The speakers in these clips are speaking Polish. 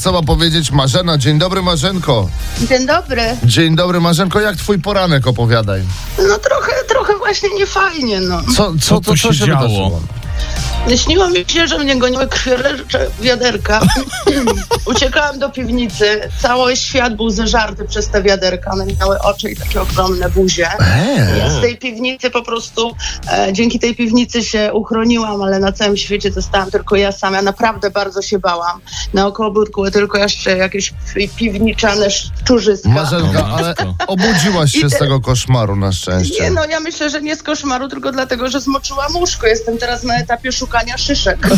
co ma powiedzieć Marzena. Dzień dobry, Marzenko. Dzień dobry. Dzień dobry, Marzenko. Jak twój poranek opowiadaj? No trochę, trochę właśnie niefajnie, no. Co, co, Co to, tu co się działo? wydarzyło? Śniło mi się, że mnie goniły krwiolecze wiaderka. Uciekałam do piwnicy. Cały świat był zeżarty przez te wiaderka. One miały oczy i takie ogromne buzie. Eee, Ja z tej piwnicy po prostu, e, dzięki tej piwnicy się uchroniłam, ale na całym świecie zostałam tylko ja sama. Naprawdę bardzo się bałam. Naokoło były tylko jeszcze jakieś pi- piwniczane szczurzyska. Marzenka, O, ale matko. obudziłaś się z Idę. tego koszmaru na Nie szczęście. no, ja myślę, że nie z koszmaru, tylko dlatego, że zmoczyłam łóżko. Jestem teraz na etapie szukania szyszek.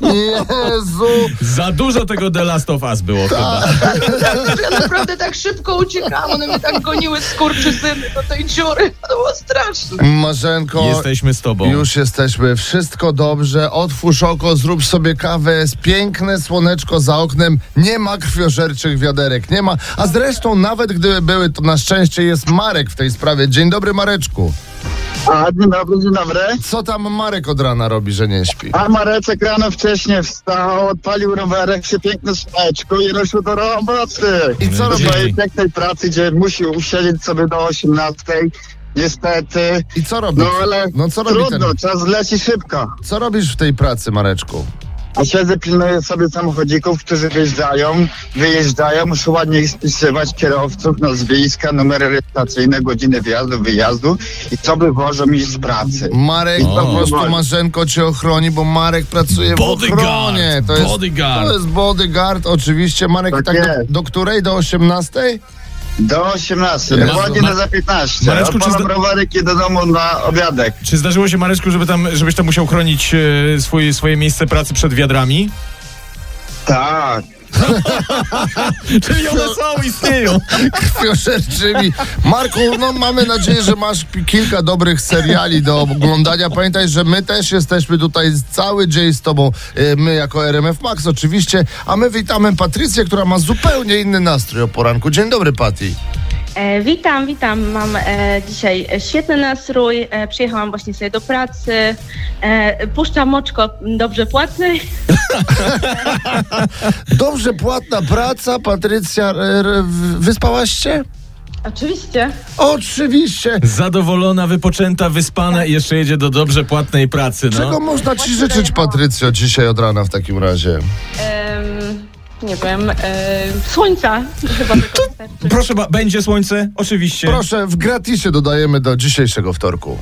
no. Jezu! Za dużo tego The Last of Us było Tak, chyba. Ja naprawdę tak szybko uciekałam, one mnie tak goniły skurczyzyny do tej dziury. To było straszne. Marzenko, Jesteśmy z tobą. Już jesteśmy, wszystko dobrze. Otwórz oko, zrób sobie kawę. Jest piękne słoneczko za oknem. Nie ma krwiożerczych wiaderek, nie ma. A zresztą, nawet gdyby były, to na szczęście jest Marek w tej sprawie. Dzień dobry, Mareczku. A, dzień dobry, dzień dobry. Co tam Marek od rana robi, że nie śpi? A Marecek rano wcześniej wstał, odpalił rowerek, się piękne słoneczko i ruszył do roboty. I co Do robi, swojej pięknej pracy, gdzie musiał usiedzieć sobie do 18. Niestety. i co robi? No ale No co robi ten, trudno, czas leci szybko. co robisz w tej pracy, Mareczku? A siedzę, pilnuję sobie samochodzików, którzy wjeżdżają, wyjeżdżają, muszę ładnie ich spisywać, kierowców, nazwiska, numery rejestracyjne, godziny wjazdu, wyjazdu i co wywożą mi z pracy. Marek No. O. po prostu Marzenko cię ochroni, bo Marek pracuje Bodyguard, w ochronie. To jest, bodyguard. To jest bodyguard, oczywiście. Marek, Tak i tak do, jest. do której? Do 18? Do 18, Jezu, dokładnie Ma- na za 15. Mareczku, Mareczku, czy zda- rowerek i do domu na obiadek. Czy zdarzyło się, Mareczku, żeby tam, żebyś tam musiał chronić e, swój, swoje miejsce pracy przed wiadrami? Tak. Czyli one są, istnieją. krwiożerczymi. Marku, no mamy nadzieję, że masz pi- kilka dobrych seriali do oglądania. Pamiętaj, że my też jesteśmy tutaj cały dzień z tobą. y, My jako RMF Max oczywiście, a my witamy Patrycję, która ma zupełnie inny nastrój o poranku. Dzień dobry, Pati. E, witam, witam. Mam e, dzisiaj świetny nastrój. E, przyjechałam właśnie sobie do pracy. E, puszczam oczko dobrze płatnej. Dobrze płatna praca, Patrycja, e, r- r- wyspałaś się? Oczywiście. Oczywiście. Zadowolona, wypoczęta, wyspana i jeszcze jedzie do dobrze płatnej pracy, Czego no. można ci życzyć, Patrycjo, dzisiaj od rana w takim razie? Em, nie wiem. E, słońca chyba tylko wystarczy. Proszę, ba- będzie słońce? Oczywiście. Proszę, w gratisie dodajemy do dzisiejszego wtorku.